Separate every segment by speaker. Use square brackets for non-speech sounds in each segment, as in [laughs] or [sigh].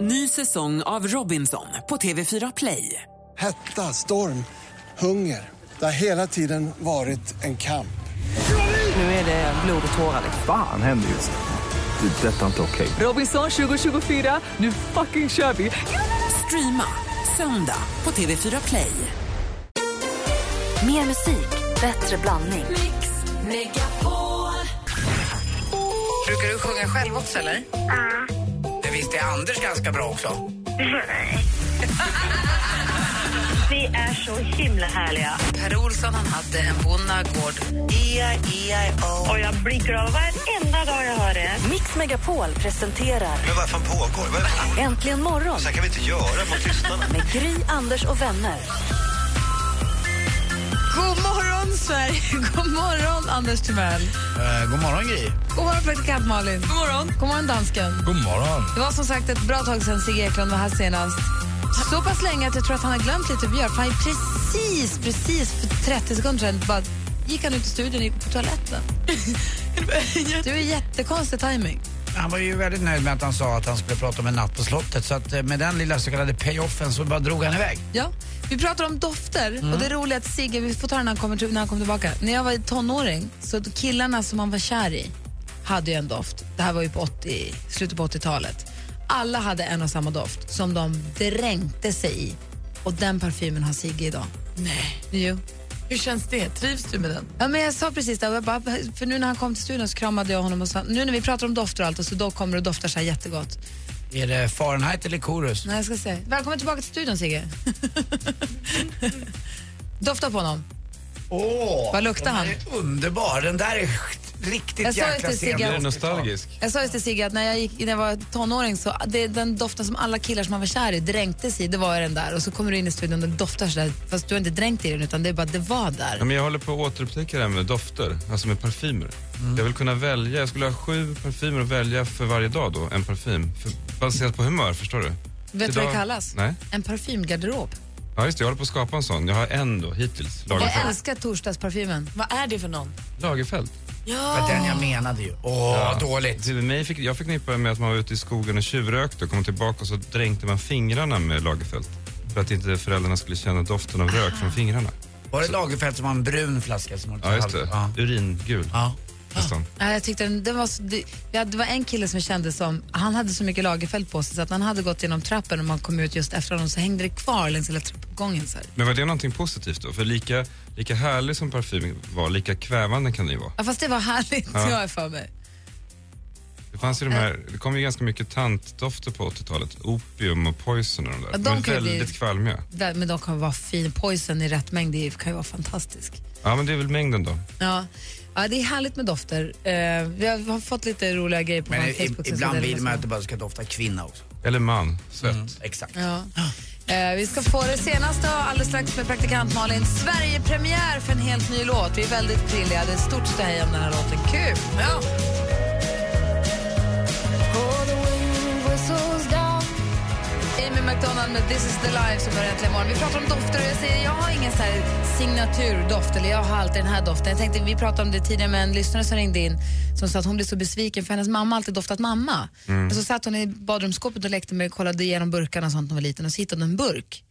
Speaker 1: Ny säsong av Robinson på TV4 Play.
Speaker 2: Hetta, storm, hunger. Det har hela tiden varit en kamp.
Speaker 1: Nu är det blod och tårar. liksom.
Speaker 3: Fan händer just nu. Det. är Detta är inte okej.
Speaker 1: Robinson 2024, nu fucking kör vi! Streama söndag på TV4 Play.
Speaker 4: Mer musik, bättre blandning.
Speaker 5: Brukar du sjunga själv också eller? Ja. Det visste Anders ganska bra också.
Speaker 6: [laughs] Vi är så himla härliga.
Speaker 5: Per Olsson han hade en bonnagård. E-I-I-O.
Speaker 6: Och jag blinkar av varenda dag jag hör det.
Speaker 4: Mix Megapol presenterar
Speaker 7: Men vad fan pågår? Vad fan?
Speaker 4: Äntligen morgon
Speaker 7: Så här kan vi inte göra mot tystnaden.
Speaker 4: med Gry, Anders och vänner.
Speaker 8: God morgon, Sverige! God morgon, Anders Timell!
Speaker 9: Eh, god morgon, Gry.
Speaker 8: God morgon, praktikant Malin! God morgon, God morgon dansken!
Speaker 9: God morgon.
Speaker 8: Det var som sagt ett bra tag sedan Sigge Eklund var här senast. Så pass länge att jag tror att han har glömt lite hur vi gör. För han är precis, precis för 30 sekunder sedan bara gick han ut i studion och gick på [laughs] toaletten. Du är jättekonstig timing.
Speaker 9: Han var ju väldigt nöjd med att han sa att han skulle prata om en natt på slottet. Så att eh, med den lilla så kallade payoffen så bara drog han iväg.
Speaker 8: Ja. Vi pratar om dofter och det är
Speaker 10: Mm.
Speaker 8: roligt att Sigge, vi får ta den när han kommer, till- när han kommer tillbaka. När jag var tonåring så killarna som man var kär i hade ju en doft. Det här var ju på 80, slutet på 80-talet. Alla hade en och samma doft som de dränkte sig i. Och den parfymen har Sigge idag. Nej. Jo.
Speaker 10: Hur känns det? Trivs du med den?
Speaker 8: Ja, men jag sa precis det, och jag bara, för nu när han kom till studion så kramade jag honom och sa, nu när vi pratar om dofter och allt och så då kommer det och doftar så här jättegott.
Speaker 9: Är det Fahrenheit eller Chorus?
Speaker 8: Nej, jag ska se. Välkommen tillbaka till studion, Sigge. [laughs] Dofta på honom.
Speaker 9: Åh!
Speaker 8: Vad luktar han?
Speaker 9: Den är underbar. Den där är sjukt- riktigt
Speaker 8: Jag sa ju
Speaker 9: jäkla
Speaker 8: till Sigge att- Är den
Speaker 9: nostalgisk?
Speaker 8: Jag sa just till Sigge att när jag, gick, när jag var tonåring så det, den doften som alla killar som man var kär i dränktes i, det var den där. Och så kommer du in i studion och den doftar sådär, fast du har inte dränkt i den utan det är bara, det var där.
Speaker 11: Men jag håller på att återupptäcka det här med dofter, alltså med parfymer.
Speaker 8: Mm.
Speaker 11: Jag vill kunna välja, jag skulle ha sju parfymer att välja för varje dag då, en parfym. För, baserat på humör, förstår du?
Speaker 8: Vet du vad det
Speaker 11: Idag-
Speaker 8: kallas?
Speaker 11: Nej.
Speaker 8: En parfymgarderob.
Speaker 11: Ja just det, jag håller på att skapa en sån. Jag har en då, hittills.
Speaker 8: Jag
Speaker 11: Lagerfeld.
Speaker 8: älskar torsdagsparfymen.
Speaker 10: Vad är det för någon?
Speaker 11: Lagerfeld.
Speaker 9: Det var den jag menade ju. Åh, dåligt.
Speaker 11: Det är mig fick, jag förknippar det med att man var ute i skogen och tjuvrökte och kom tillbaka och så dränkte man fingrarna med Lagerfeld. För att inte föräldrarna skulle känna doften av rök från fingrarna.
Speaker 9: Var det Lagerfeld som var en brun flaska? Som
Speaker 11: Ja just det,
Speaker 9: Ja.
Speaker 11: uringul.
Speaker 9: ja.
Speaker 11: nästan.
Speaker 8: Nej, jag tyckte den, det, var, så- det, vi hade- det var en kille som jag kände som, han hade så mycket lagerfält på sig så att när han hade gått genom trappen och man kom ut just efter honom så hängde det kvar längs hela trappgången. Så här.
Speaker 11: Men var det någonting positivt då? För lika, lika härlig som parfym var, lika kvävande kan det ju vara.
Speaker 8: Ja, fast det var härligt,
Speaker 11: Ja.
Speaker 8: jag är för mig.
Speaker 11: Det, fanns ju de här, det kom ju ganska mycket tantdofter på 80-talet. Opium och poison och de där.
Speaker 8: Ja, de
Speaker 11: de är
Speaker 8: kan ju bli-
Speaker 11: väldigt kvalmiga.
Speaker 8: Där- Men de kan vara fin. Poison i rätt mängd det kan ju vara fantastisk.
Speaker 11: Ja, men det är väl mängden då.
Speaker 8: Ja. ja, det är härligt med dofter. Eh, vi har, har fått lite roliga grejer på
Speaker 9: Men
Speaker 8: vår
Speaker 9: i,
Speaker 8: Facebook. som
Speaker 9: ibland
Speaker 8: vi
Speaker 9: vill
Speaker 8: delar
Speaker 9: man
Speaker 8: med
Speaker 9: att det bara ska dofta kvinna också. Mm.
Speaker 11: Eller man, svett.
Speaker 9: Exakt.
Speaker 8: oss av. Ja. Eh, vi ska få det senaste och alldeles strax med praktikant Malin. Sverige-premiär för en helt ny låt. Vi är väldigt prilliga. Det är stort ståhej om den här låten. Kul! Ja. Amy McDonald med This is the life som börjar äntligen imorgon. Vi pratar om dofter och jag säger jag har ingen så här signaturdoft eller jag har alltid den här doften. Jag tänkte, vi pratade om det tidigare med en lyssnare som ringde in som sa att hon blev så besviken för hennes mamma har alltid doftat mamma. Men så satt hon i badrumsskåpet och lekte med och kollade igenom burkarna och sånt när hon var liten och så hittade hon en burk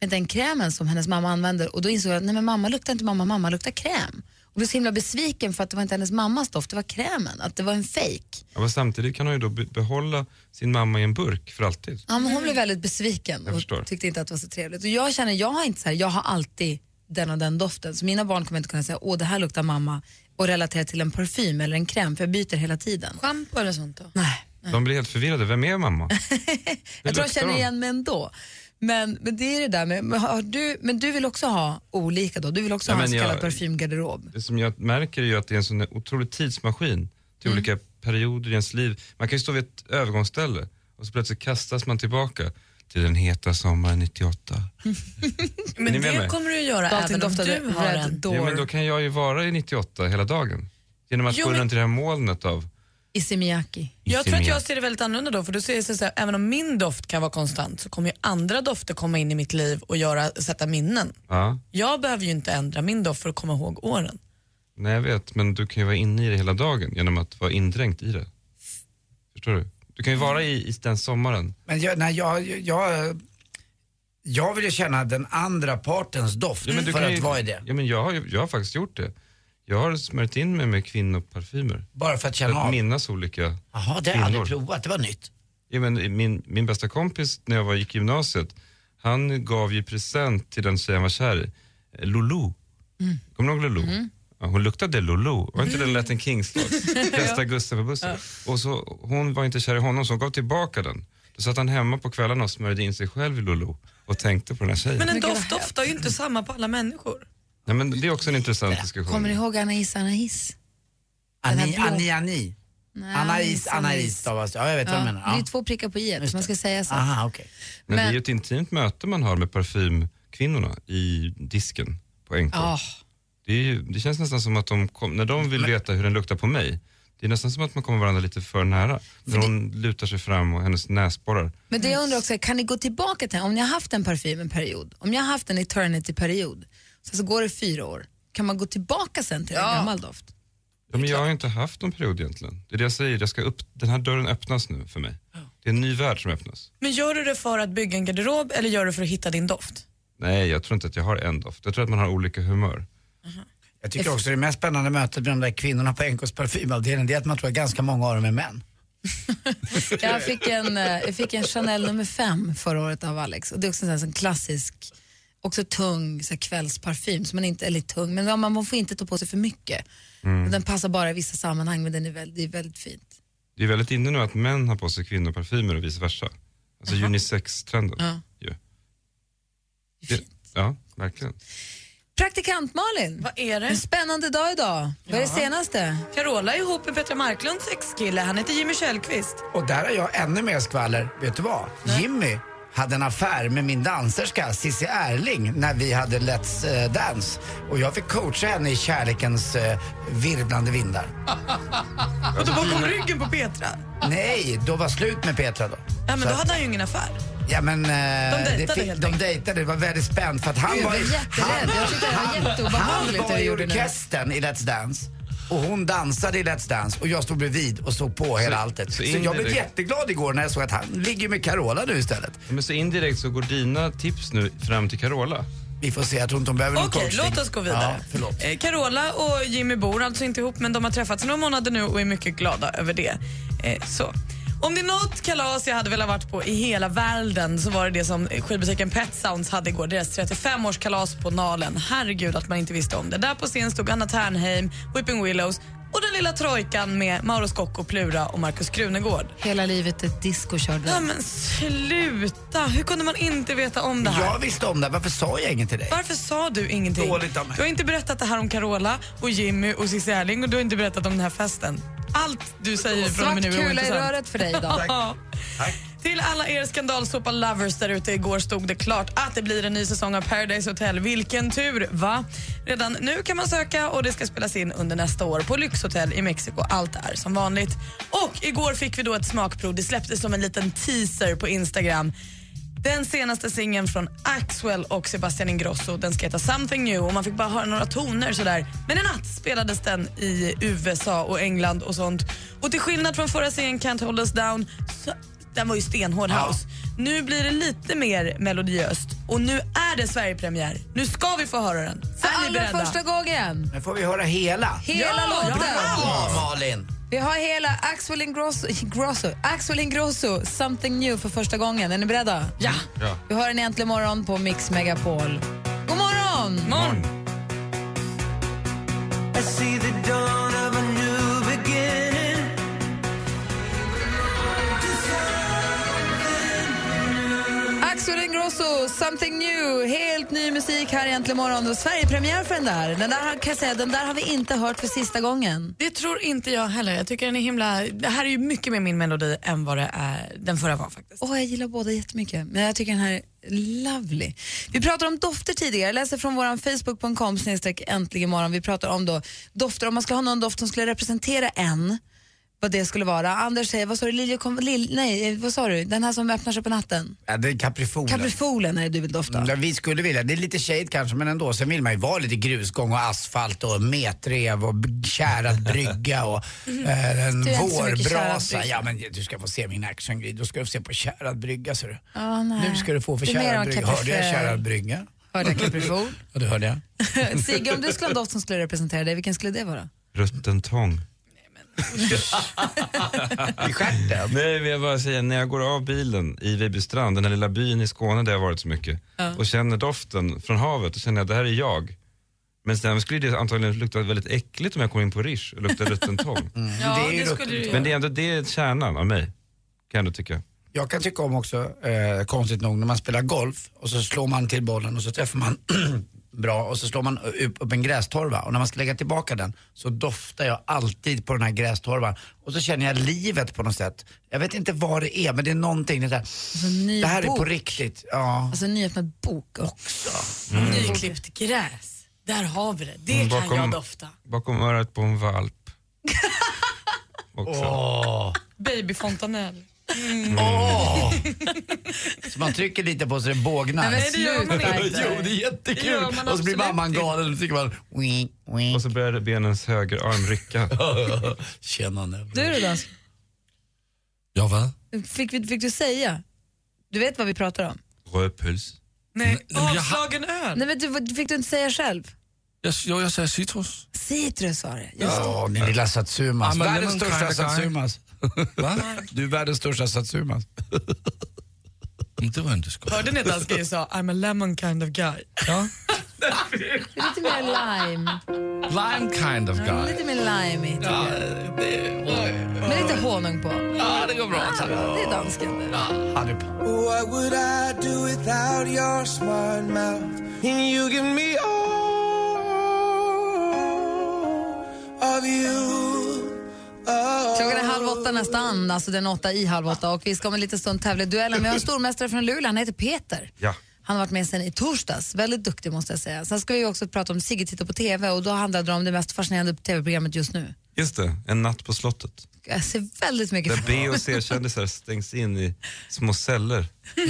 Speaker 8: med den krämen som hennes mamma använder och då insåg jag att nej men mamma luktar inte mamma, mamma luktar kräm. Och blev så himla besviken för att det var inte hennes mammas doft, det var krämen, att det var en fejk.
Speaker 11: Ja, men samtidigt kan hon ju då be- behålla sin mamma i en burk för alltid.
Speaker 8: Ja, men hon blev väldigt besviken
Speaker 11: Mm. Jag
Speaker 8: och
Speaker 11: förstår.
Speaker 8: tyckte inte att det var så trevligt. Och jag känner, jag har inte så här, jag har alltid den och den doften. Så mina barn kommer inte kunna säga, åh det här luktar mamma och relatera till en parfym eller en kräm för jag byter hela tiden.
Speaker 10: Schampo eller sånt då?
Speaker 11: [laughs]
Speaker 8: Nej.
Speaker 11: De blir helt förvirrade. Vem är mamma?
Speaker 8: Jag tror jag
Speaker 11: luktar
Speaker 8: känner
Speaker 11: de?
Speaker 8: igen mig ändå. Men, men det är det där med, men, har du, men du vill också ha olika då? Du vill också
Speaker 11: Ja,
Speaker 8: ha en
Speaker 11: men
Speaker 8: så kallad
Speaker 11: jag-
Speaker 8: parfymgarderob?
Speaker 11: Det som jag märker är ju att det är en sån otrolig tidsmaskin till
Speaker 10: Mm.
Speaker 11: olika perioder i ens liv. Man kan ju stå vid ett övergångsställe och så plötsligt kastas man tillbaka till den heta
Speaker 10: [laughs]
Speaker 11: sommaren 98. Är ni
Speaker 10: Men
Speaker 11: med mig?
Speaker 10: det kommer du att göra
Speaker 8: Allting
Speaker 10: även om
Speaker 8: doftade
Speaker 10: du har
Speaker 8: Red
Speaker 10: en.
Speaker 8: Door
Speaker 11: Ja, men då kan jag ju vara i 98 hela dagen. Genom att
Speaker 10: Jo,
Speaker 11: gå
Speaker 10: men-
Speaker 11: runt i det här molnet av...
Speaker 8: i Simiaki.
Speaker 10: Jag tror att
Speaker 11: Isemiak.
Speaker 10: jag ser det väldigt annorlunda då, för då ser jag så här, även om min doft kan vara konstant så kommer ju andra dofter komma in i mitt liv och göra, sätta minnen.
Speaker 11: Ja,
Speaker 10: Jag behöver ju inte ändra min doft för att komma ihåg åren.
Speaker 11: nej jag vet, men du kan ju vara inne i det hela dagen genom att vara indränkt i det. Förstår du? Du kan ju vara i, i den sommaren.
Speaker 9: Men jag, nej, jag, jag, jag vill ju känna den andra partens doft
Speaker 11: Ja, men du
Speaker 9: för
Speaker 11: kan
Speaker 9: att
Speaker 11: ju,
Speaker 9: vara i det.
Speaker 11: Ja, men jag, har, ju- jag har faktiskt gjort det. Jag har smörjt in mig med kvinnoparfymer.
Speaker 9: Bara för att känna
Speaker 11: för att
Speaker 9: av?
Speaker 11: minnas olika
Speaker 9: Jaha, det har jag aldrig provat. Det var nytt.
Speaker 11: Ja, men min, min bästa kompis när jag var, gick i gymnasiet, han gav ju present till den tjej han var kär i, eh, Lulu.
Speaker 12: Mm.
Speaker 11: Kommer du ihåg Lulu? Ja, hon luktade Lulu. Var inte den
Speaker 12: [laughs]
Speaker 11: Latin Kings låt? Bästa Gustav på bussen. Och så, hon var inte kär i honom så hon gav tillbaka den. Då satt han hemma på kvällarna och smörjde in sig själv i Lulu och tänkte på den här tjejen.
Speaker 10: Men en doft doftar ju inte samma på alla människor.
Speaker 11: Nej, men det är också en intressant diskussion.
Speaker 8: Kommer ni ihåg Anais Anais? Den här
Speaker 9: Ani,
Speaker 8: blå-
Speaker 9: ani, ani.
Speaker 8: Nej,
Speaker 9: Anais, Anais stavas det. Ja, jag vet
Speaker 8: Ja,
Speaker 9: vad du menar.
Speaker 8: Det är ju
Speaker 9: Ja.
Speaker 8: två prickar på i et, man ska säga så.
Speaker 9: Aha, okej.
Speaker 11: Men det är
Speaker 8: Men-
Speaker 11: ju ett intimt möte man har med parfymkvinnorna i disken på NK.
Speaker 8: Ah.
Speaker 11: Det, är ju, det känns nästan som att de kom, när de vill veta hur den luktar på mig, det är nästan som att man kommer varandra lite för nära. När hon lutar sig fram och hennes näsborrar.
Speaker 8: Men det jag undrar också, är, kan ni gå tillbaka till, om ni har haft en parfym en period, om jag har haft en eternity-period, så, så går det fyra år, kan man gå tillbaka sen till en gammal doft?
Speaker 11: Ja, men jag har ju inte haft någon period egentligen. Det är det jag säger, jag ska upp, den här dörren öppnas nu för mig. Det är en ny värld som öppnas.
Speaker 10: Men gör du det för att bygga en garderob eller gör du för att hitta din doft?
Speaker 11: Nej, jag tror inte att jag har en doft. Jag tror att man har olika humör.
Speaker 9: Jag tycker också det mest spännande mötet med de där kvinnorna på NKs parfymavdelning, det är att man tror att ganska många av dem är män.
Speaker 8: Jag fick en, eh, jag fick en Chanel nummer fem förra året av Alex och det är också en sån här sån klassisk, också tung så här kvällsparfym som man inte, eller tung, men ja, man man får inte ta på sig för mycket.
Speaker 11: Mm.
Speaker 8: Den passar bara i vissa sammanhang men den är väldigt, det är väldigt fint.
Speaker 11: Det är väldigt inne nu att män har på sig kvinnoparfymer och vice versa. Alltså unisex-trenden.
Speaker 8: Ja.
Speaker 11: ju. Det, ja, verkligen.
Speaker 8: Praktikant Malin,
Speaker 10: Vad är det?
Speaker 8: en spännande dag idag. Vad är det
Speaker 10: Ja.
Speaker 8: senaste?
Speaker 10: Carola är ihop med Petra Marklunds ex-kille, han heter Jimmy Källqvist.
Speaker 9: Och där har jag ännu mer skvaller. Vet du vad? Jimmy hade en affär med min danserska Cissi Erling när vi hade Let's eh, Dance. Och jag fick coacha henne i kärlekens eh, virvlande vindar.
Speaker 10: Och då bakom
Speaker 9: Mm.
Speaker 10: ryggen på Petra.
Speaker 9: Nej, då var slut med Petra då.
Speaker 10: Ah. Ja, men
Speaker 9: Så
Speaker 10: då
Speaker 9: att-
Speaker 10: hade han ju ingen affär.
Speaker 9: Ja men eh,
Speaker 10: dejtade
Speaker 9: det
Speaker 10: helt
Speaker 9: de dejtade, det var väldigt spänt för att han
Speaker 10: Jag
Speaker 9: var,
Speaker 10: blev
Speaker 9: han,
Speaker 10: jätterädd. Jag tyckte det var
Speaker 9: han
Speaker 10: jätteobehagligt det
Speaker 9: var
Speaker 10: du
Speaker 9: i
Speaker 10: gjorde nu.
Speaker 9: orkestern i Let's Dance och hon dansade i Let's Dance och jag stod bredvid och såg på hela alltet. Så,
Speaker 11: så
Speaker 9: jag blev
Speaker 11: indirekt-
Speaker 9: jätteglad igår när jag såg att han ligger med Carola nu istället.
Speaker 11: Men så indirekt så går dina tips nu fram till Carola.
Speaker 9: Vi får se, jag tror inte hon behöver någon
Speaker 10: Okej,
Speaker 9: coachning.
Speaker 10: låt oss gå vidare.
Speaker 9: Ja, förlåt.
Speaker 10: Eh, Carola och Jimmy bor alltså inte ihop men de har träffats några månader nu och är mycket glada över det. Eh, så. Om det är något kalas jag hade velat varit på i hela världen så var det det som skivbutiken Pet Sounds hade igår, deras 35-årskalas på Nalen. Herregud att man inte visste om det. Där på scen stod Anna Ternheim, Whipping Willows och den lilla trojkan med Mauro Scocco, Plura och Markus Krunegård.
Speaker 8: Hela livet ett disco körde.
Speaker 10: Ja men sluta, hur kunde man inte veta om det här?
Speaker 9: Jag visste om det, varför sa jag inget till dig?
Speaker 10: Varför sa du ingenting?
Speaker 9: Dåligt av mig.
Speaker 10: Du har inte berättat det här om Carola och Jimmy och Cissi Erling och du har inte berättat om den här festen. Allt du säger från och med nu är
Speaker 8: Svart kula i
Speaker 10: ointressant.
Speaker 8: röret för dig idag.
Speaker 10: Ja. Till alla er skandalsåpa-lovers där ute igår stod det klart att det blir en ny säsong av Paradise Hotel. Vilken tur, va? Redan nu kan man söka och det ska spelas in under nästa år på lyxhotell i Mexiko. Allt är som vanligt. Och igår fick vi då ett smakprov. Det släpptes som en liten teaser på Instagram. Den senaste singeln från Axwell och Sebastian Ingrosso den ska heta Something New och man fick bara höra några toner sådär. Men i natt spelades den i USA och England och sånt. Och till skillnad från förra singeln Can't Hold Us Down, så, den var ju stenhård house. Nu blir det lite mer melodiöst och nu är det Sverigepremiär. Nu ska vi få höra den.
Speaker 8: För
Speaker 10: är ni
Speaker 8: allra
Speaker 10: beredda?
Speaker 8: första gången.
Speaker 9: Men får vi höra hela?
Speaker 8: Hela låten.
Speaker 9: Ja, Malin!
Speaker 8: Vi har hela Axel Ingrosso, Grosso, Axel Ingrosso, Something New för första gången. Är ni beredda? Ja.
Speaker 11: Ja.
Speaker 8: Vi har den äntligen morgon på Mix Megapol. God morgon!
Speaker 10: morgon.
Speaker 12: I see the dawn of a new beginning.
Speaker 8: Axel Ingrosso, Something New. Helt ny musik här i äntligen morgon. Och Sverigepremiär för den där. Den där, har- kan jag säga, den där har vi inte hört för sista gången.
Speaker 10: Det tror inte jag heller. Jag tycker den är himla... Det här är ju mycket mer min melodi än vad det är, den förra var faktiskt.
Speaker 8: Åh, jag gillar båda jättemycket, men jag tycker den här är lovely. Vi pratade om dofter tidigare, jag läser från vår facebook.com snedstreck äntligen morgon. Vi pratar om då dofter, om man ska ha någon doft som skulle representera en, vad det skulle vara. Anders säger, vad sa du, liljekom, lil, nej, vad sa du, den här som öppnar sig på natten?
Speaker 9: Ja, det är kaprifol.
Speaker 8: Kaprifolen är det du vill dofta.
Speaker 9: Ja, vi skulle vilja, det är lite shade kanske men ändå, sen vill man ju vara lite grusgång och asfalt och metrev och b- tjärad brygga och eh, en
Speaker 8: Mhm. Du är inte så mycket tjärad
Speaker 9: vårbrasa.
Speaker 8: brygga.
Speaker 9: Ja men du ska få se min actiongrej, då ska du få se på tjärad brygga ser du.
Speaker 8: Ja, nej.
Speaker 9: Nu ska du få för
Speaker 8: Det är
Speaker 9: tjärad
Speaker 8: mer av
Speaker 9: brygga. Hörde jag
Speaker 8: kaprifol.
Speaker 9: tjärad brygga?
Speaker 8: Hörde
Speaker 9: [laughs]
Speaker 8: jag kaprifol?
Speaker 9: ja det hörde jag.
Speaker 8: Sigge, om du skulle ha en doft som skulle representera dig, vilken skulle det vara?
Speaker 11: Rutten tång.
Speaker 9: I stjärten?
Speaker 11: Nej, men jag bara säger, när jag går av bilen i Vejbystrand, den här lilla byn i Skåne där jag varit så mycket,
Speaker 13: Ja.
Speaker 11: och känner doften från havet, då känner jag att det här är jag. Men sen skulle det antagligen lukta väldigt äckligt om jag kom in på Rish och luktade rutten tång.
Speaker 9: Ja, det är ju det skulle rutten du tång.
Speaker 11: Men det är ändå det är kärnan av mig, kan jag ändå tycka.
Speaker 9: Jag kan tycka om också, eh, konstigt nog, när man spelar golf och så slår man till bollen och så träffar man [clears throat] bra och så slår man upp, upp en grästorva och när man ska lägga tillbaka den så doftar jag alltid på den här grästorvan och så känner jag livet på något sätt. Jag vet inte vad det är men det är någonting, det, där,
Speaker 8: ny
Speaker 9: det här är på
Speaker 8: bok.
Speaker 9: riktigt. Ja.
Speaker 8: Alltså en nyöppnad bok Mm. också.
Speaker 14: Nyklippt gräs. Där har vi det. Det
Speaker 9: Mm,
Speaker 14: kan jag dofta.
Speaker 11: Bakom örat på en valp. Också.
Speaker 10: Babyfontanell.
Speaker 9: Mm. Så man trycker lite på så det bågnar.
Speaker 10: Nej, men det gör man inte.
Speaker 9: Jo, det är
Speaker 10: Det
Speaker 9: jättekul.
Speaker 10: gör man
Speaker 9: och så blir
Speaker 10: absolut
Speaker 9: mamman galen och tycker man...
Speaker 11: Och så började benens högerarm rycka.
Speaker 9: Tjena nu.
Speaker 8: Du då dansk?
Speaker 9: Ja, va?
Speaker 8: Fick, vi- fick du säga? Du vet vad vi pratar om?
Speaker 11: Rödpuls.
Speaker 10: Nej,
Speaker 15: men jag har-
Speaker 10: avslagen öl.
Speaker 8: Nej, men du, fick du inte säga själv?
Speaker 15: Jag, jo, jag säger citrus.
Speaker 8: Citrus var det.
Speaker 9: Ja, din lilla satsumas.
Speaker 15: I'm a
Speaker 9: Världens
Speaker 15: lemon
Speaker 9: största
Speaker 15: kind of guy.
Speaker 9: satsumas. Du är världens största satsumas.
Speaker 15: Det var inte skoj.
Speaker 10: Hörde ni att han skrev sa I'm a lemon kind of guy?
Speaker 15: Ja.
Speaker 8: Lite mer lime.
Speaker 9: Lime kind of
Speaker 8: Ja,
Speaker 9: guy.
Speaker 8: Lite mer limey. tycker
Speaker 9: Ja,
Speaker 8: jag.
Speaker 9: det, oj.
Speaker 8: Med lite honung på.
Speaker 9: Ja, det går bra.
Speaker 8: Ja, det är dansken det.
Speaker 9: Ja, det är bra.
Speaker 12: What would I do without your smart mouth? And you give me all of you. Oh.
Speaker 8: Klockan är halv åtta nästan, alltså den åtta i halv åtta och vi ska om en liten stund tävla i duellen. Men jag har en stormästare från Luleå, han heter Peter.
Speaker 11: Ja.
Speaker 8: Han har varit med sen i torsdags, väldigt duktig måste jag säga. Sen ska vi också prata om Sigge tittar på TV och då handlade det om det mest fascinerande TV-programmet just nu.
Speaker 11: Just det, en natt på slottet.
Speaker 8: Jag ser väldigt mycket
Speaker 11: Där
Speaker 8: fram
Speaker 11: B
Speaker 8: [laughs]
Speaker 11: och C-kändisar stängs in i små celler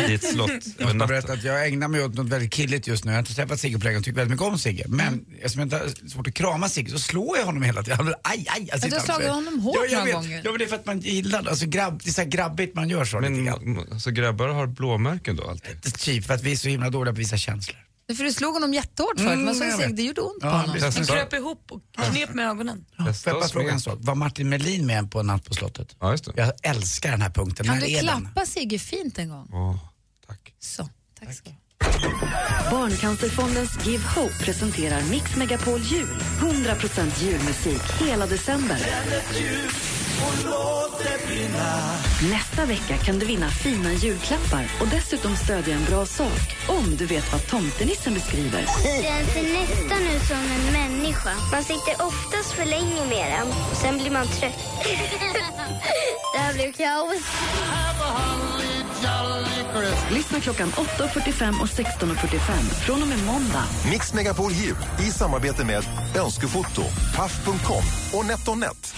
Speaker 11: i ett slott.
Speaker 9: Jag måste bara berätta att jag ägnar mig åt något väldigt killigt just nu. Jag har inte träffat Sigge på länge och tycker väldigt mycket om Sigge. Men eftersom jag inte har svårt att krama Sigge så slår jag honom hela tiden. Han blir aj, aj.
Speaker 8: Ja, du har
Speaker 9: sitter
Speaker 8: slagit
Speaker 9: framför.
Speaker 8: honom hårt
Speaker 9: ja, jag
Speaker 8: några
Speaker 9: vet.
Speaker 8: gånger.
Speaker 9: Ja, men det är för att man gillar det. Alltså, grabb, det är så här grabbigt man gör så.
Speaker 11: Men så grabbar har blåmärken då alltid?
Speaker 9: Typ för att vi är så himla dåliga på att visa känslor.
Speaker 8: Nu För du slog honom jättehårt förut,
Speaker 9: Mm,
Speaker 8: man såg
Speaker 9: jag
Speaker 8: Sigge,
Speaker 9: vet.
Speaker 8: det gjorde ont
Speaker 9: Ja,
Speaker 8: på
Speaker 9: han
Speaker 8: honom.
Speaker 9: blir så-
Speaker 10: Han kröp ihop och knep med ögonen.
Speaker 9: Får jag bara
Speaker 11: oss
Speaker 9: fråga
Speaker 11: med.
Speaker 9: en sak? Var Martin Melin med på Natt på slottet?
Speaker 11: Ja, just det.
Speaker 9: Jag älskar den här punkten.
Speaker 8: Kan
Speaker 9: När
Speaker 8: du
Speaker 9: är den?
Speaker 8: klappa Sigge fint en gång?
Speaker 11: Åh,
Speaker 8: Så, tack ska du ha.
Speaker 4: Barncancerfondens Give Hope presenterar Mix Megapol Jul. 100% julmusik hela december. Nästa vecka kan du vinna fina julklappar och dessutom stödja en bra sak om du vet vad tomtenissen beskriver.
Speaker 16: Den ser nästan ut som en människa. Man sitter oftast för länge med den. och Sen blir man trött. Det här blev kaos.
Speaker 4: Lyssna klockan 8.45 och 16.45 från och med måndag.
Speaker 13: Mix Megapol Jul i samarbete med Önskefoto, Paff.com och NetOnNet.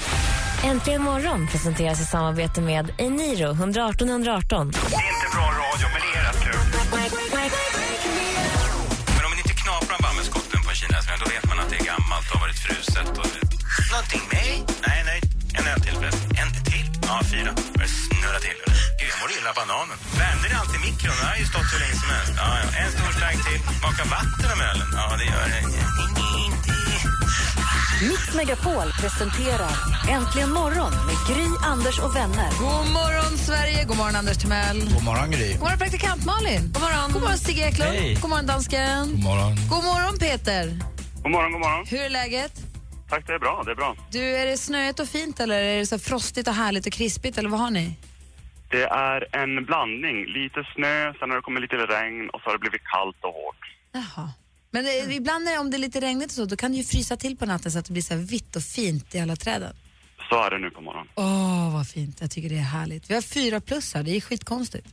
Speaker 17: Äntligen morgon presenteras i samarbete med Eniro 118 118.
Speaker 7: Bra radio, men det är rätt kul. Men om man inte knaprar bambuskotten på en kinasmäll, då vet man att det är gammalt och har varit fruset. Och... Någonting med? Nej, nej. En öl till förresten. En till? Ja, fyra. Börjar snurra till. Gud, jag mår illa av bananen. Värmde det alltid i mikron? Den har ju stått hur länge som helst. Ja, ja. En stor stark till. Maka vatten om ölen? Ja, det gör det.
Speaker 4: Mix Megapol presenterar Äntligen morgon med Gry, Anders och vänner.
Speaker 8: God morgon, Sverige. God morgon, Anders Timell. God
Speaker 9: God morgon Gry.
Speaker 8: morgon, praktikant Malin. God morgon, God morgon Sigge Eklund.
Speaker 18: Hej.
Speaker 8: God morgon, dansken. God
Speaker 15: morgon.
Speaker 8: God morgon, Peter.
Speaker 18: God morgon, god morgon.
Speaker 8: Hur är läget?
Speaker 18: Tack, det är bra, det är bra.
Speaker 8: Du, är det snöigt och fint eller är det så frostigt och härligt och krispigt eller vad har ni?
Speaker 18: Det är en blandning. Lite snö, sen har det kommit lite regn och så har det blivit kallt och hårt.
Speaker 8: Jaha. Men det, ibland när det, om det är lite regnigt och så, då kan det ju frysa till på natten så att det blir så här vitt och fint i alla träden.
Speaker 18: Så är det nu på morgonen.
Speaker 8: Åh, vad fint. Jag tycker det är härligt. Vi har fyra plus här, det är skitkonstigt.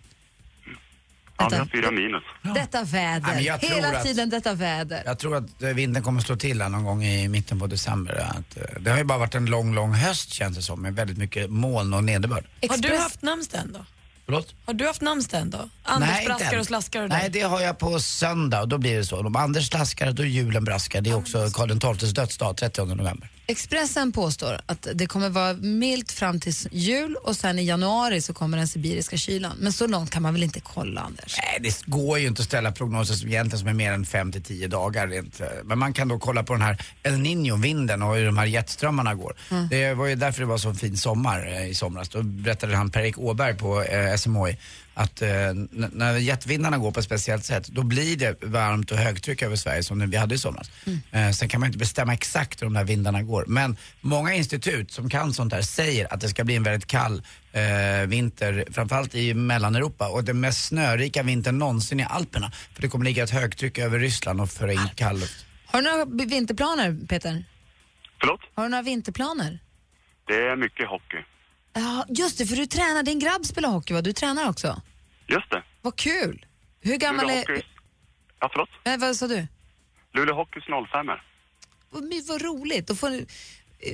Speaker 19: Ja, vi har fyra minus.
Speaker 8: Detta
Speaker 9: Ja,
Speaker 8: väder.
Speaker 9: men jag tror
Speaker 8: Hela
Speaker 9: att-
Speaker 8: tiden detta väder.
Speaker 9: Jag tror att eh, vintern kommer slå till här någon gång i mitten på december. Att, eh, det har ju bara varit en lång, lång höst känns det som med väldigt mycket moln och nederbörd.
Speaker 10: Har du haft namnsdag än då?
Speaker 9: Förlåt?
Speaker 10: Har du haft namnsdag än då? Anders
Speaker 9: Nej, inte
Speaker 10: braskar
Speaker 9: än.
Speaker 10: och slaskar och
Speaker 9: Nej, det har jag på söndag och då blir det så. Om Anders slaskar, då är julen braskar. Det är också Karl XIIs dödsdag, 30 november.
Speaker 8: Expressen påstår att det kommer vara milt fram till jul och sen i januari så kommer den sibiriska kylan. Men så långt kan man väl inte kolla, Anders?
Speaker 9: Nej, det går ju inte att ställa prognoser som egentligen som är mer än 5 till 10 dagar. Rent. eh, Men man kan då kolla på den här El Niño-vinden och hur de här jetströmmarna går.
Speaker 20: Mm.
Speaker 9: Det var ju därför det var så fin sommar eh, i somras. Då berättade han Per-Erik Åberg på eh, SMHI att eh, n- när jetvindarna går på ett speciellt sätt då blir det varmt och högtryck över Sverige som vi hade i somras.
Speaker 8: Mm.
Speaker 9: Eh, sen kan man inte bestämma exakt hur de där vindarna går. Men många institut som kan sånt här säger att det ska bli en väldigt kall eh, vinter, framförallt i Mellaneuropa och den mest snörika vintern någonsin i Alperna. För det kommer ligga ett högtryck över Ryssland och föra in kall luft.
Speaker 8: Har du några b- vinterplaner, Peter?
Speaker 19: Förlåt?
Speaker 8: Har du några vinterplaner?
Speaker 19: Det är mycket hockey.
Speaker 8: Ja, just det, för du tränar. Din grabb spelar hockey, va? Du tränar också?
Speaker 19: Just det.
Speaker 8: Vad kul! Hur gammal
Speaker 19: Luleå
Speaker 8: är...
Speaker 19: Hockey... Ja, förlåt?
Speaker 8: Eh, vad sa du?
Speaker 19: Luleå Hockeys 05 er
Speaker 8: Vad, my- vad roligt. Då får, du-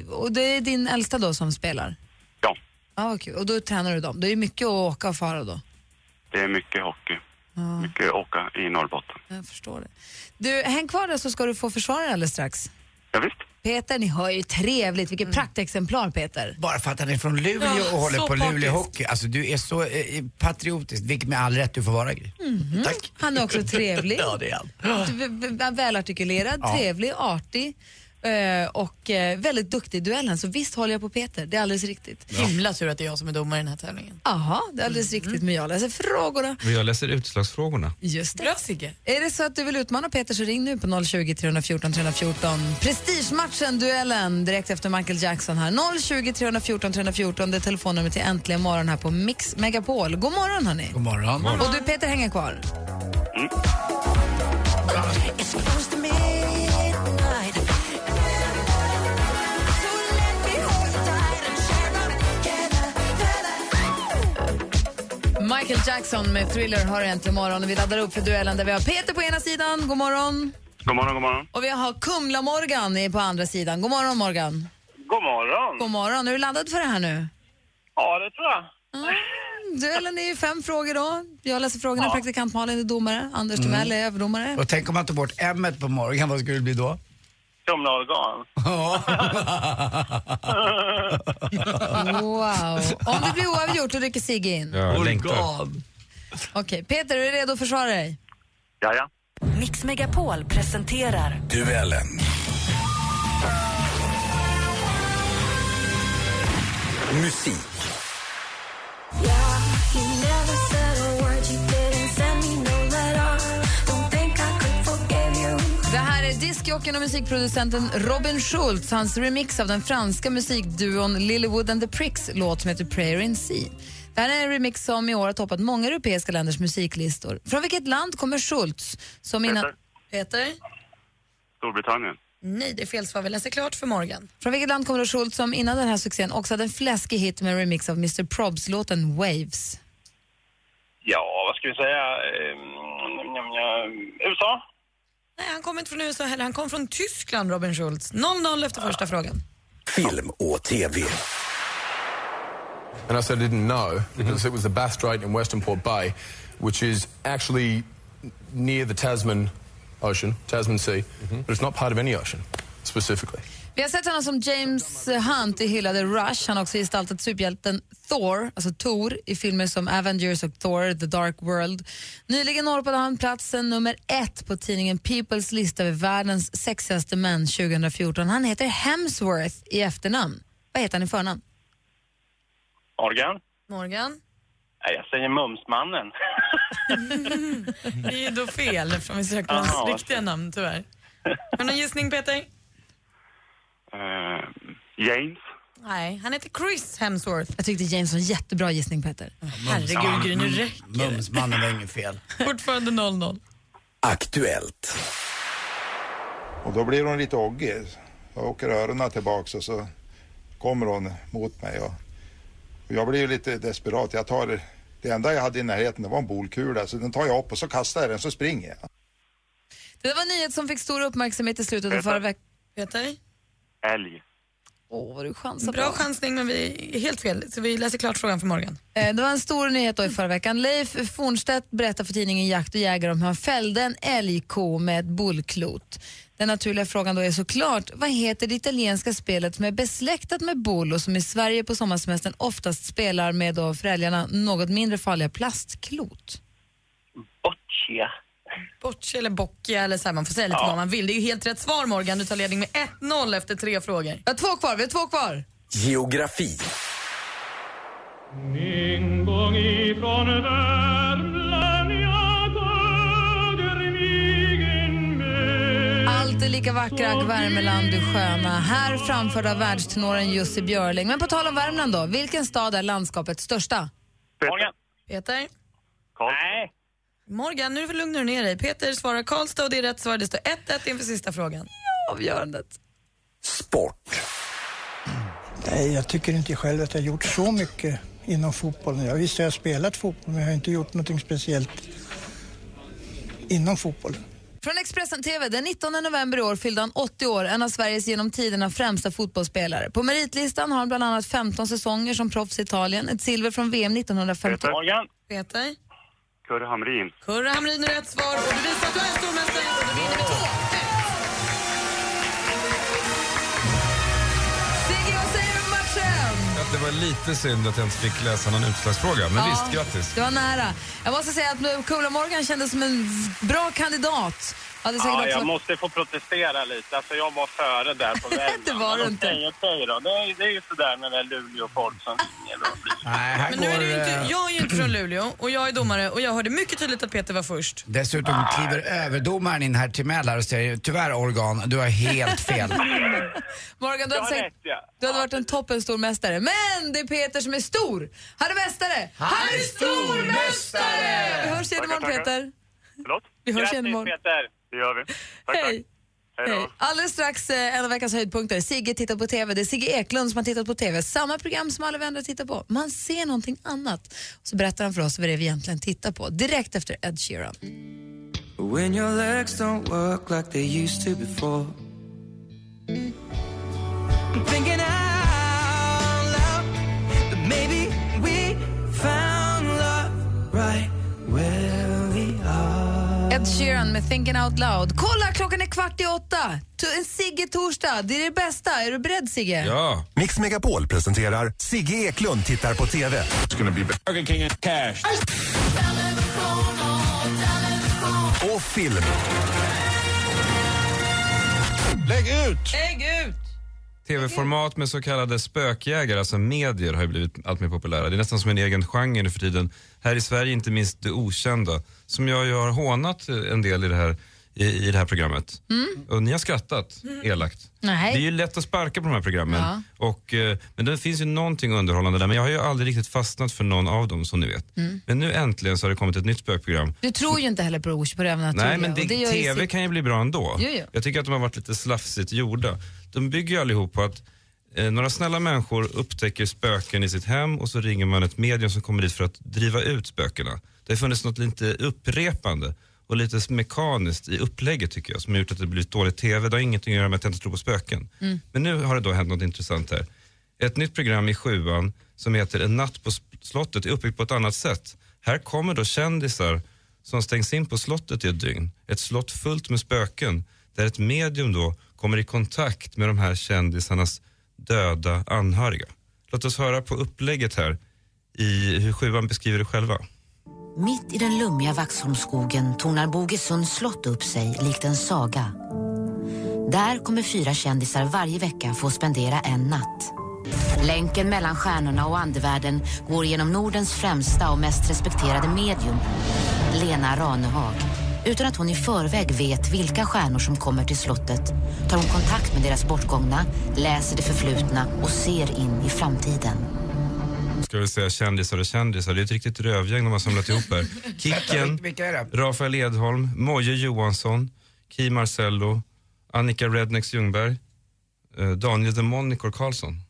Speaker 8: och det är din äldsta då som spelar?
Speaker 19: Ja.
Speaker 8: Ja, vad kul. Och då tränar du dem. Det är mycket att åka och fara då.
Speaker 19: Det är mycket hockey.
Speaker 8: Ja.
Speaker 19: Mycket åka i Norrbotten.
Speaker 8: Jag förstår det. Du, häng kvar där så ska du få försvara alldeles strax.
Speaker 19: Ja, visst.
Speaker 8: Peter, ni hör ju trevligt.
Speaker 9: Mm.
Speaker 8: Vilket praktexemplar, Peter.
Speaker 9: Bara för att han är från Luleå
Speaker 8: Ja,
Speaker 9: och håller
Speaker 8: så
Speaker 9: på Luleå
Speaker 8: partisk.
Speaker 9: Hockey. Alltså du är så eh, patriotisk, vilket med all rätt du får vara Gry.
Speaker 8: Mhm.
Speaker 9: Tack.
Speaker 8: Han är också
Speaker 9: [laughs]
Speaker 8: trevlig.
Speaker 9: ja, det är han.
Speaker 8: Du- v- v- Välartikulerad,
Speaker 9: Ja.
Speaker 8: trevlig, artig eh, och eh, väldigt duktig i duellen. Så visst håller jag på Peter, det är alldeles riktigt.
Speaker 10: Himla tur att det är jag som är domare i den här tävlingen.
Speaker 8: Jaha, det är alldeles
Speaker 9: Mm.
Speaker 8: riktigt, men jag läser frågorna.
Speaker 11: Och jag läser utslagsfrågorna.
Speaker 8: Just det. Bra,
Speaker 10: Sigge.
Speaker 8: Är det så att du vill utmana Peter så ring nu på 020 314 314. Prestigematchen, duellen, direkt efter Michael Jackson här. 020 314 314, det är telefonnumret till Äntligen morgon här på Mix Megapol. God morgon hörni.
Speaker 9: God morgon.
Speaker 8: Och du Peter hänger kvar. Michael Jackson med Thriller har äntligen morgon och vi laddar upp för duellen där vi har Peter på ena sidan, god morgon.
Speaker 19: God morgon, god morgon.
Speaker 8: Och vi har Kumla-Morgan på andra sidan. God morgon Morgan.
Speaker 21: God morgon.
Speaker 8: God morgon, är du laddad för det här nu?
Speaker 21: Ja, det tror jag.
Speaker 8: Mm, Duellen är ju fem frågor då. Jag läser frågorna, praktikant Malin är domare, Anders
Speaker 9: Mm.
Speaker 8: Timell är överdomare.
Speaker 9: Och tänk om man tog bort M på Morgan, vad skulle det bli då?
Speaker 21: Kumla organ.
Speaker 9: Ja.
Speaker 8: Wow. Om det blir oavgjort då rycker Sigge in.
Speaker 11: Ja, jag [laughs] längtar.
Speaker 8: Okej, Peter, är du redo att försvara dig?
Speaker 19: Ja, ja.
Speaker 22: Mix Megapol presenterar
Speaker 23: Duellen. Musik.
Speaker 8: Det här är diskjocken och musikproducenten Robin Schultz, hans remix av den franska musikduon Lilywood and the Pricks låt som heter Prayer in Sea. Det här är en remix som i år har toppat många europeiska länders musiklistor. Från vilket land kommer Schultz? Som innan...
Speaker 19: Peter.
Speaker 10: Peter?
Speaker 19: Storbritannien.
Speaker 10: Nej, det är fel svar. Vi läser klart för Morgan.
Speaker 8: Från vilket land kommer Schultz som innan den här succén också hade en fläskig hit med en remix av Mr Probs-låten Waves?
Speaker 21: Ja, vad ska vi säga? Ehm, njam, njam, njam. USA?
Speaker 10: Nej, han kom inte från USA heller. Han kom från Tyskland, Robin Schultz. 0-0 efter första frågan.
Speaker 23: Film och TV.
Speaker 12: And I said I didn't know because it was the Bass Strait in Western Port Bay, which is actually near the Tasman Ocean, Tasman Sea, but it's not part of any ocean specifically.
Speaker 8: Vi har sett honom som James Hunt i hyllade Rush. Han har också gestaltat superhjälten Thor, alltså Thor, i filmer som Avengers och Thor, The Dark World. Nyligen norpade han platsen nummer ett på tidningen Peoples lista över världens sexigaste män 2014. Han heter Hemsworth i efternamn. Vad heter han i förnamn?
Speaker 21: Morgan?
Speaker 10: Morgan?
Speaker 21: Nej, jag säger Mumsmannen.
Speaker 10: det är ju då fel eftersom vi söker
Speaker 21: Aha.
Speaker 10: hans riktiga namn, tyvärr. Har du någon gissning, Peter?
Speaker 19: Eh, James.
Speaker 10: Nej, han heter Chris Hemsworth.
Speaker 8: Jag tyckte James var en jättebra gissning, Peter.
Speaker 10: Mm. Herregud, Gry, nu räcker
Speaker 9: Mumsmannen var inget fel.
Speaker 10: Fortfarande 0-0.
Speaker 7: Aktuellt. Och då blir hon lite oggig. Jag åker öronen tillbaks och så kommer hon mot mig. Och och jag blir ju lite desperat. Jag tar
Speaker 24: Det enda jag hade i närheten det var en bolkula så den tar jag upp och så kastar jag den så springer jag.
Speaker 8: Det var en nyhet som fick stor uppmärksamhet i slutet av
Speaker 24: Peter.
Speaker 8: förra veckan. Peter?
Speaker 18: Älg.
Speaker 8: Åh, vad du chansar
Speaker 10: Bra
Speaker 8: bra.
Speaker 10: chansning, men vi är helt fel. Så vi läser klart frågan för morgon.
Speaker 8: Eh, Det var en stor nyhet då i förra veckan. Leif Fornstedt berättar för tidningen Jakt och Jägare om hur han fällde en älgko med ett bullklot. Den naturliga frågan då är såklart, vad heter det italienska spelet som är besläktat med boll och som i Sverige på sommarsemestern oftast spelar med då för älgarna något mindre farliga plastklot?
Speaker 10: Boccia. Boccia eller boccia, eller så här, man får säga lite vad man vill. Det är ju helt rätt svar Morgan. Du tar ledning med 1-0 efter tre frågor.
Speaker 8: Vi har två kvar, vi har två kvar.
Speaker 2: Geografi.
Speaker 8: Allt är lika vackra, ack Värmeland du sköna. Här framförd av världstenoren Jussi Björling. Men på tal om Värmland då, vilken stad är landskapets största?
Speaker 10: Morgan. Peter?
Speaker 18: Nej.
Speaker 10: Morgan, nu lugnar du ner dig. Peter svarar Karlstad och det är rätt svar. Det står 1-1 inför sista frågan.
Speaker 8: Avgörandet.
Speaker 25: Nej, jag tycker inte själv att jag gjort så mycket inom fotbollen. Jag visst har jag spelat fotboll, men jag har inte gjort någonting speciellt inom fotbollen.
Speaker 8: Från Expressen TV. Den 19 november i år fyllde han 80 år, en av Sveriges genom tiderna främsta fotbollsspelare. På meritlistan har han bland annat 15 säsonger som proffs i Italien, ett silver från VM 1950.
Speaker 18: Peter. Morgan.
Speaker 10: Peter?
Speaker 18: Kurre Hamrin.
Speaker 10: Kurre Hamrin är rätt svar och du visar att du är stormästare och du vinner med 2
Speaker 8: Sigge, vad säger du om matchen?
Speaker 11: Att det var lite synd att jag inte fick läsa någon utslagsfråga, men
Speaker 8: Ja.
Speaker 11: visst, grattis.
Speaker 8: Det var nära. Jag måste säga att Kula Morgan kändes som en bra kandidat. Hade säkert
Speaker 26: Ja,
Speaker 8: också
Speaker 26: jag
Speaker 8: varit-
Speaker 26: måste få protestera lite. Alltså, jag var före där
Speaker 8: [laughs]
Speaker 26: på vägen.
Speaker 8: Det var
Speaker 26: Men
Speaker 8: du inte.
Speaker 26: Okej, okej då. Det är, det är ju sådär med det där Luleå-folk som ringer. och blir-
Speaker 10: Men nu är det ju inte,
Speaker 9: eh,
Speaker 10: jag är ju inte från Luleå och jag är domare och jag hörde mycket tydligt att Peter var först.
Speaker 9: Dessutom kliver överdomaren in här till Mälar och säger tyvärr Organ, du har helt fel.
Speaker 8: Morgan, du hade, säkert, du hade varit en toppen stormästare. Men det är Peter som är stor. Han är mästare. Han är stormästare! Vi hörs igen
Speaker 6: Tackar,
Speaker 8: imorgon,
Speaker 6: tackar.
Speaker 8: Peter.
Speaker 18: Förlåt?
Speaker 8: Vi hörs igen imorgon.
Speaker 18: Peter. Det gör vi. Tack,
Speaker 8: Hej.
Speaker 18: tack. Hej då.
Speaker 8: Hej. Alldeles strax eh, en av veckans höjdpunkter. Sigge tittar på TV. Det är Sigge Eklund som har tittat på TV. Samma program som alla vi andra tittar på. Man ser någonting annat. Och så berättar han för oss vad det är vi egentligen tittar på. Direkt efter Ed Sheeran.
Speaker 12: When your legs don't work like they used to before.
Speaker 2: Thinking out loud that maybe we found love right where we are.
Speaker 8: Ed Sheeran med Thinking Out Loud. Kolla, klockan är kvart i åtta. To- En Sigge-torsdag. Det är det bästa. Är du beredd, Sigge?
Speaker 13: Ja. Mix Megapol presenterar Sigge Eklund tittar på TV.
Speaker 2: Burger King and cash.
Speaker 13: Och film.
Speaker 11: Lägg ut!
Speaker 10: Lägg ut!
Speaker 11: TV-format med så kallade spökjägare, alltså medier, har ju blivit allt mer populära. Det är nästan som en egen genre nu för tiden. Här i Sverige inte minst det okända, som jag ju har hånat eh, en del i det här, i, i det här programmet.
Speaker 10: Mm.
Speaker 11: Och ni har skrattat elakt.
Speaker 8: Nej.
Speaker 11: Det är ju lätt att sparka på de här programmen.
Speaker 8: Ja.
Speaker 11: Och, eh, men det finns ju någonting underhållande där, men jag har ju aldrig riktigt fastnat för någon av dem som ni vet. Mm. Men nu äntligen så har det kommit ett nytt spökprogram.
Speaker 8: Du tror ju inte heller på det på det övernaturliga.
Speaker 11: Nej, men det,
Speaker 8: och gör ju
Speaker 11: TV
Speaker 8: Sigge-
Speaker 11: kan ju bli bra ändå.
Speaker 8: Jo, jo.
Speaker 11: Jag tycker att de har varit lite slafsigt gjorda. De bygger ju allihop på att eh, några snälla människor upptäcker spöken i sitt hem och så ringer man ett medium som kommer dit för att driva ut spökena. Det har funnits något lite upprepande och lite mekaniskt i upplägget tycker jag som har gjort att det blivit dåligt TV. Det har ingenting att göra med att jag inte tror på spöken. Mm. Men nu har det då hänt något intressant här. Ett nytt program i sjuan som heter En natt på sp- slottet är uppbyggt på ett annat sätt. Här kommer då kändisar som stängs in på slottet i ett dygn. Ett slott fullt med spöken där ett medium då kommer i kontakt med de här kändisarnas döda anhöriga. Låt oss höra på upplägget här i hur sjuan beskriver det själva.
Speaker 19: Mitt i den lummiga Vaxholmsskogen tornar Bogesunds slott upp sig likt en saga. Där kommer fyra kändisar varje vecka få spendera en natt. Länken mellan stjärnorna och andevärlden går genom Nordens främsta och mest respekterade medium, Lena Ranehag. Utan att hon i förväg vet vilka stjärnor som kommer till slottet tar hon kontakt med deras bortgångna, läser det förflutna och ser in i framtiden.
Speaker 11: Ska vi säga kändisar och kändisar, det är ett riktigt rövgäng de har samlat ihop här. Kicken,
Speaker 9: Vilka är det?
Speaker 11: Rafael Edholm, Moje Johansson, Ki Marcello, Annika Rednex Ljungberg, eh, Daniel The Moniker Karlsson,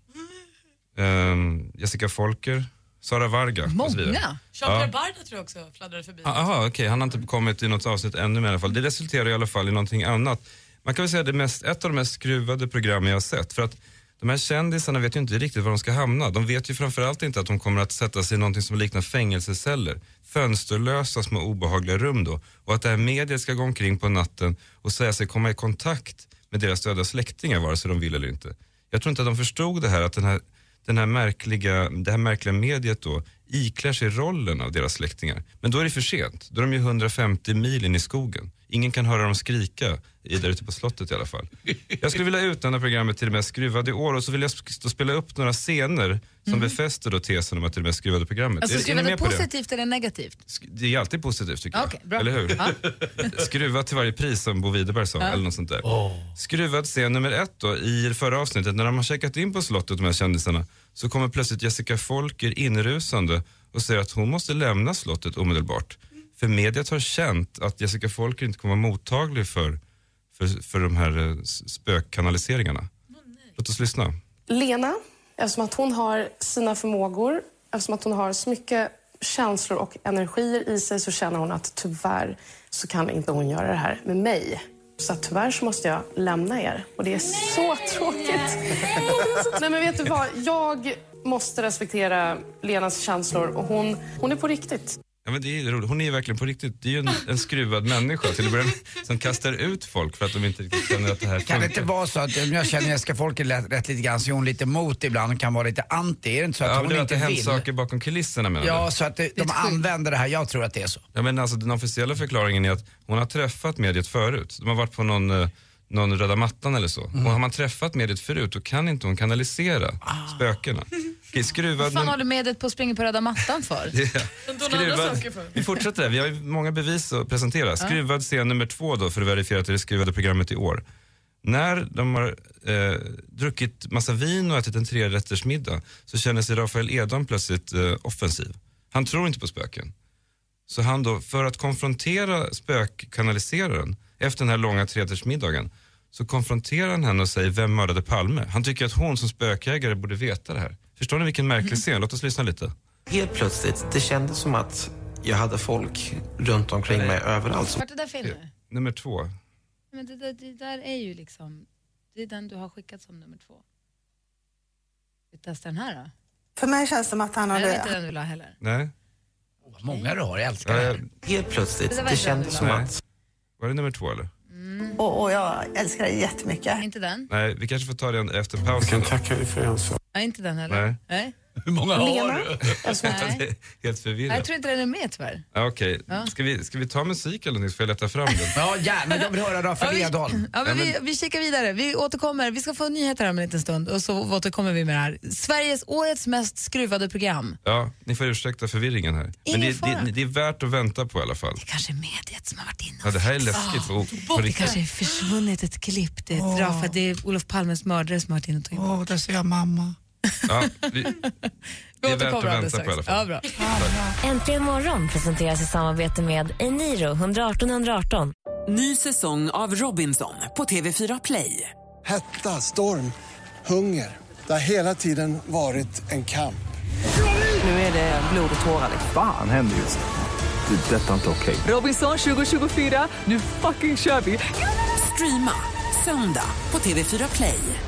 Speaker 11: ehm, Jessica Folker, Sara Varga och så vidare.
Speaker 10: Många?
Speaker 14: Jean
Speaker 11: Ja.
Speaker 14: Barda tror jag också fladdrade förbi.
Speaker 11: Ah, Aha, okej. Han har inte kommit i något avsnitt ännu med i alla fall. Det resulterar i alla fall i någonting annat. Man kan väl säga det mest, ett av de mest skruvade programmen jag har sett. För att de här kändisarna vet ju inte riktigt var de ska hamna. De vet ju framförallt inte att de kommer att sätta sig i någonting som liknar fängelseceller. Fönsterlösa små obehagliga rum då. Och att det här mediet ska gå omkring på natten och säga sig komma i kontakt med deras döda släktingar vare sig de vill eller inte. Jag tror inte att de förstod det här att den här, den här märkliga, det här märkliga mediet då iklär sig rollen av deras släktingar. Men då är det för sent. Då är de ju 150 mil in i skogen. Ingen kan höra dem skrika i, där ute på slottet i alla fall. Jag skulle vilja utnämna programmet till det mest skruvade i år och så vill jag sk- då spela upp några scener som befäster då tesen om att det är det mest Mm. skruvade programmet.
Speaker 8: Alltså,
Speaker 11: Är-
Speaker 8: ska
Speaker 11: är
Speaker 8: vi
Speaker 11: ni
Speaker 8: vara
Speaker 11: med på det?
Speaker 8: positivt eller negativt?
Speaker 11: Det är alltid positivt tycker
Speaker 8: Okej,
Speaker 11: jag.
Speaker 8: bra.
Speaker 11: Eller hur? [laughs] Skruva till varje pris som Bo Widerberg sa.
Speaker 8: Ja.
Speaker 11: Eller något sånt där. Skruvad scen nummer ett då, i det förra avsnittet när de har checkat in på slottet de här kändisarna så kommer plötsligt Jessica Folker inrusande och säger att hon måste lämna slottet omedelbart. För mediet har känt att Jessica Folker inte kommer vara mottaglig för, för, för de här eh, s- spökkanaliseringarna. Låt oss lyssna.
Speaker 1: Lena, eftersom att hon har sina förmågor, eftersom att hon har så mycket känslor och energier i sig så känner hon att tyvärr så kan inte hon göra det här med mig. Så att tyvärr så måste jag lämna er och det är så tråkigt. Nej men vet du vad, jag måste respektera Lenas känslor och hon, hon är på riktigt.
Speaker 11: Ja, men det är ju roligt. Hon är ju verkligen på riktigt. Det är ju en, en skruvad människa till att börja med, som kastar ut folk för att de inte riktigt känner att det
Speaker 9: Kan
Speaker 11: här
Speaker 9: det
Speaker 11: funkar.
Speaker 9: inte vara så att om jag känner Jessica Folker rätt, rätt lite grann så är hon lite emot ibland och kan vara lite anti. Är det inte så att
Speaker 11: Ja, men
Speaker 9: hon
Speaker 11: det har
Speaker 9: inte
Speaker 11: inte hänt
Speaker 9: vill?
Speaker 11: saker bakom kulisserna menar
Speaker 9: Ja,
Speaker 11: du?
Speaker 9: så att det, de använder det här. Jag tror att det är så.
Speaker 11: Ja, men alltså, den officiella förklaringen är att hon har träffat mediet förut. De har varit på någon, eh, någon röda mattan eller så.
Speaker 9: Mm.
Speaker 11: Och har man träffat mediet förut då kan inte hon kanalisera
Speaker 9: Ah.
Speaker 11: spökena. Okej,
Speaker 8: Vad
Speaker 11: skruvad...
Speaker 8: fan håller mediet på att springa på röda mattan för? [laughs]
Speaker 11: Ja.
Speaker 8: donar andra saker för.
Speaker 11: Vi fortsätter där. Vi har ju många bevis att presentera. Skruvad scen nummer två då för att verifiera att det är det skruvade programmet i år. När de har eh, druckit massa vin och ätit en trerättersmiddag så känner sig Rafael Edholm plötsligt eh, offensiv. Han tror inte på spöken. Så han då, för att konfrontera spökkanaliseraren efter den här långa trerättersmiddagen så konfronterar han henne och säger vem mördade Palme? Han tycker att hon som spökjägare borde veta det här. Förstår ni vilken
Speaker 8: Mm.
Speaker 11: märklig scen? Låt oss lyssna lite.
Speaker 3: Helt plötsligt, det kändes som att jag hade folk runt omkring mig överallt.
Speaker 8: Vart är det där fel nu?
Speaker 11: Nummer två.
Speaker 8: Men det, där, det där är ju liksom, det är den du har skickat som nummer två. Vi testar den här då.
Speaker 5: För mig känns det som att han
Speaker 8: Nej,
Speaker 5: har
Speaker 8: det var
Speaker 5: dödat.
Speaker 8: inte den du la heller.
Speaker 11: Nej. Eh,
Speaker 9: Många du har, jag älskar
Speaker 3: Helt plötsligt,
Speaker 8: Det där var
Speaker 3: det
Speaker 8: inte den
Speaker 3: kändes
Speaker 8: du
Speaker 3: som
Speaker 8: la.
Speaker 3: att...
Speaker 11: Var det nummer två eller?
Speaker 5: Och, och jag älskar det jättemycket.
Speaker 8: Inte den?
Speaker 11: Nej, vi kanske får ta den efter pausen. Jag kan tacka dig för en sak.
Speaker 8: Nej, inte den heller.
Speaker 11: Nej.
Speaker 8: Nej.
Speaker 11: Hur
Speaker 8: många har Lena?
Speaker 11: [laughs]
Speaker 8: du?
Speaker 11: du? Helt
Speaker 8: Nej, Jag
Speaker 11: förvirrat.
Speaker 8: tror inte den är med tyvärr.
Speaker 11: Ja, Okej,
Speaker 8: Ja.
Speaker 11: ska, vi, ska vi ta musik eller någonting så får jag leta fram den?
Speaker 9: ja, gärna. Jag vill höra Rafael Edholm.
Speaker 8: Ja, men vi, vi kikar vidare. Vi återkommer. Vi ska få nyheter här om en liten stund och så återkommer vi med det här. Sveriges årets mest skruvade program.
Speaker 11: Ja, ni får ursäkta förvirringen här.
Speaker 8: Ingen
Speaker 11: Men det,
Speaker 8: fara.
Speaker 11: det, det är värt att vänta på i alla fall.
Speaker 8: Kanske mediet som har varit inne
Speaker 11: Ja, det här är läskigt. Oh, på- på
Speaker 8: Det
Speaker 11: riktigt.
Speaker 8: kanske är försvunnet ett klipp. Det är, ett Rafa, det är Olof Palmes mördare som har varit inne och tagit bort.
Speaker 9: Åh, där ser jag mamma.
Speaker 11: Ja, vi, det är värt att vänta på i alla fall.
Speaker 8: bra.
Speaker 17: Äntligen morgon presenteras i samarbete med Eniro 118 118.
Speaker 27: Ny säsong av Robinson på TV4 Play.
Speaker 28: Hetta, storm, hunger. Det har hela tiden varit en kamp.
Speaker 27: Nu är det blod och tårar.
Speaker 1: liksom.
Speaker 29: Fan händer just nu. det. är Detta är inte okej.
Speaker 27: Robinson 2024, nu fucking kör vi! Streama söndag på TV4 Play.